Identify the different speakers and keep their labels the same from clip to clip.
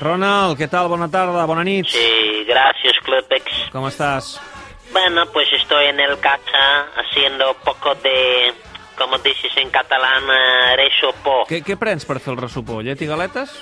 Speaker 1: Ronald, què tal? Bona tarda, bona nit.
Speaker 2: Sí, gracias, Clubex.
Speaker 1: Com estàs?
Speaker 2: Bueno, pues estoy en el casa haciendo poco de, como dices en catalán, eh, resopó.
Speaker 1: Què, què prens per fer el ressopó? Llet i galetes?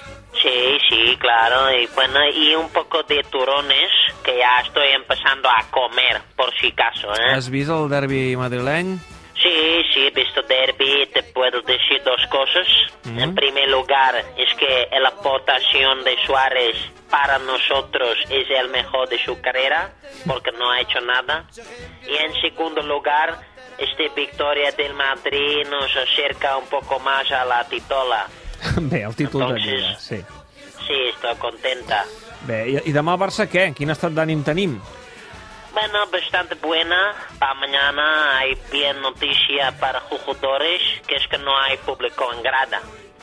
Speaker 2: Sí, sí, claro. Y bueno, y un poco de turones que ya estoy empezando a comer, por si caso, ¿eh?
Speaker 1: Has vist el derbi madrileny?
Speaker 2: Sí, sí, he visto derby, te puedo decir dos cosas. En primer lugar, es que la aportación de Suárez para nosotros es el mejor de su carrera, porque no ha hecho nada. Y en segundo lugar, esta victoria del Madrid nos acerca un poco más a la titola.
Speaker 1: Bé, el títol de
Speaker 2: Doncs sí.
Speaker 1: Lliga, sí.
Speaker 2: Sí, estoy contenta.
Speaker 1: Bé, i, i demà al Barça què? Quin estat d'ànim tenim?
Speaker 2: Bueno, bastante buena. Para mañana hay bien noticia para jugadores, que es que no hay público en grada.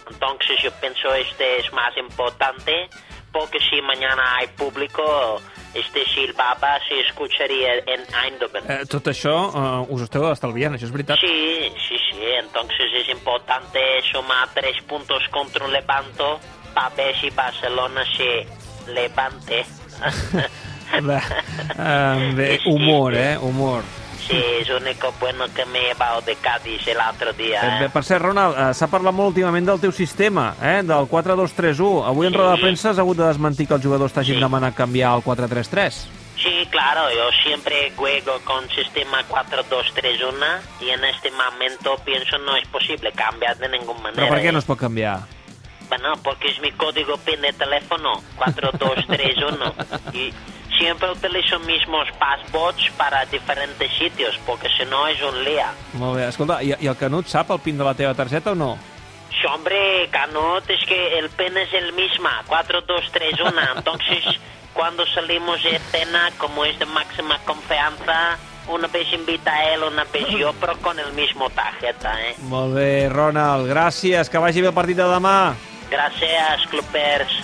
Speaker 2: Entonces yo pienso este es más importante, porque si mañana hay público, este silbaba se escucharía en Eindhoven.
Speaker 1: Eh, tot això eh, us esteu estalviant, això és veritat.
Speaker 2: Sí, sí, sí, entonces es importante sumar tres puntos contra un Levanto para ver si Barcelona se levante.
Speaker 1: Bé, eh, bé, humor, eh? Humor.
Speaker 2: Sí, es único bueno que me he llevado de Cádiz el otro
Speaker 1: Eh,
Speaker 2: día.
Speaker 1: bé,
Speaker 2: ¿eh?
Speaker 1: per cert, Ronald, eh, s'ha parlat molt últimament del teu sistema, eh? Del 4-2-3-1. Avui en roda de premsa has hagut de desmentir que els jugadors t'hagin
Speaker 2: Sí.
Speaker 1: demanat canviar el 4-3-3.
Speaker 2: Sí, claro, yo siempre juego con sistema 4-2-3-1 y en este momento pienso no es posible cambiar de ninguna manera.
Speaker 1: Però per
Speaker 2: ¿eh?
Speaker 1: què no es pot canviar?
Speaker 2: Bueno, porque es mi código PIN de teléfono, 4231. y siempre utilizo mismos passwords para diferentes sitios, porque si no es un lía.
Speaker 1: Molt bé, escolta, i, i el Canut sap el pin de la teva targeta o no?
Speaker 2: Sí, hombre, Canut, es que el PIN es el mismo, 4231. Entonces, cuando salimos de escena, como es de máxima confianza, una vez invita a él, una vez yo, pero con el mismo tarjeta, ¿eh?
Speaker 1: Molt bé, Ronald, gràcies, que vagi bé el partit de demà.
Speaker 2: Gracias, clubers.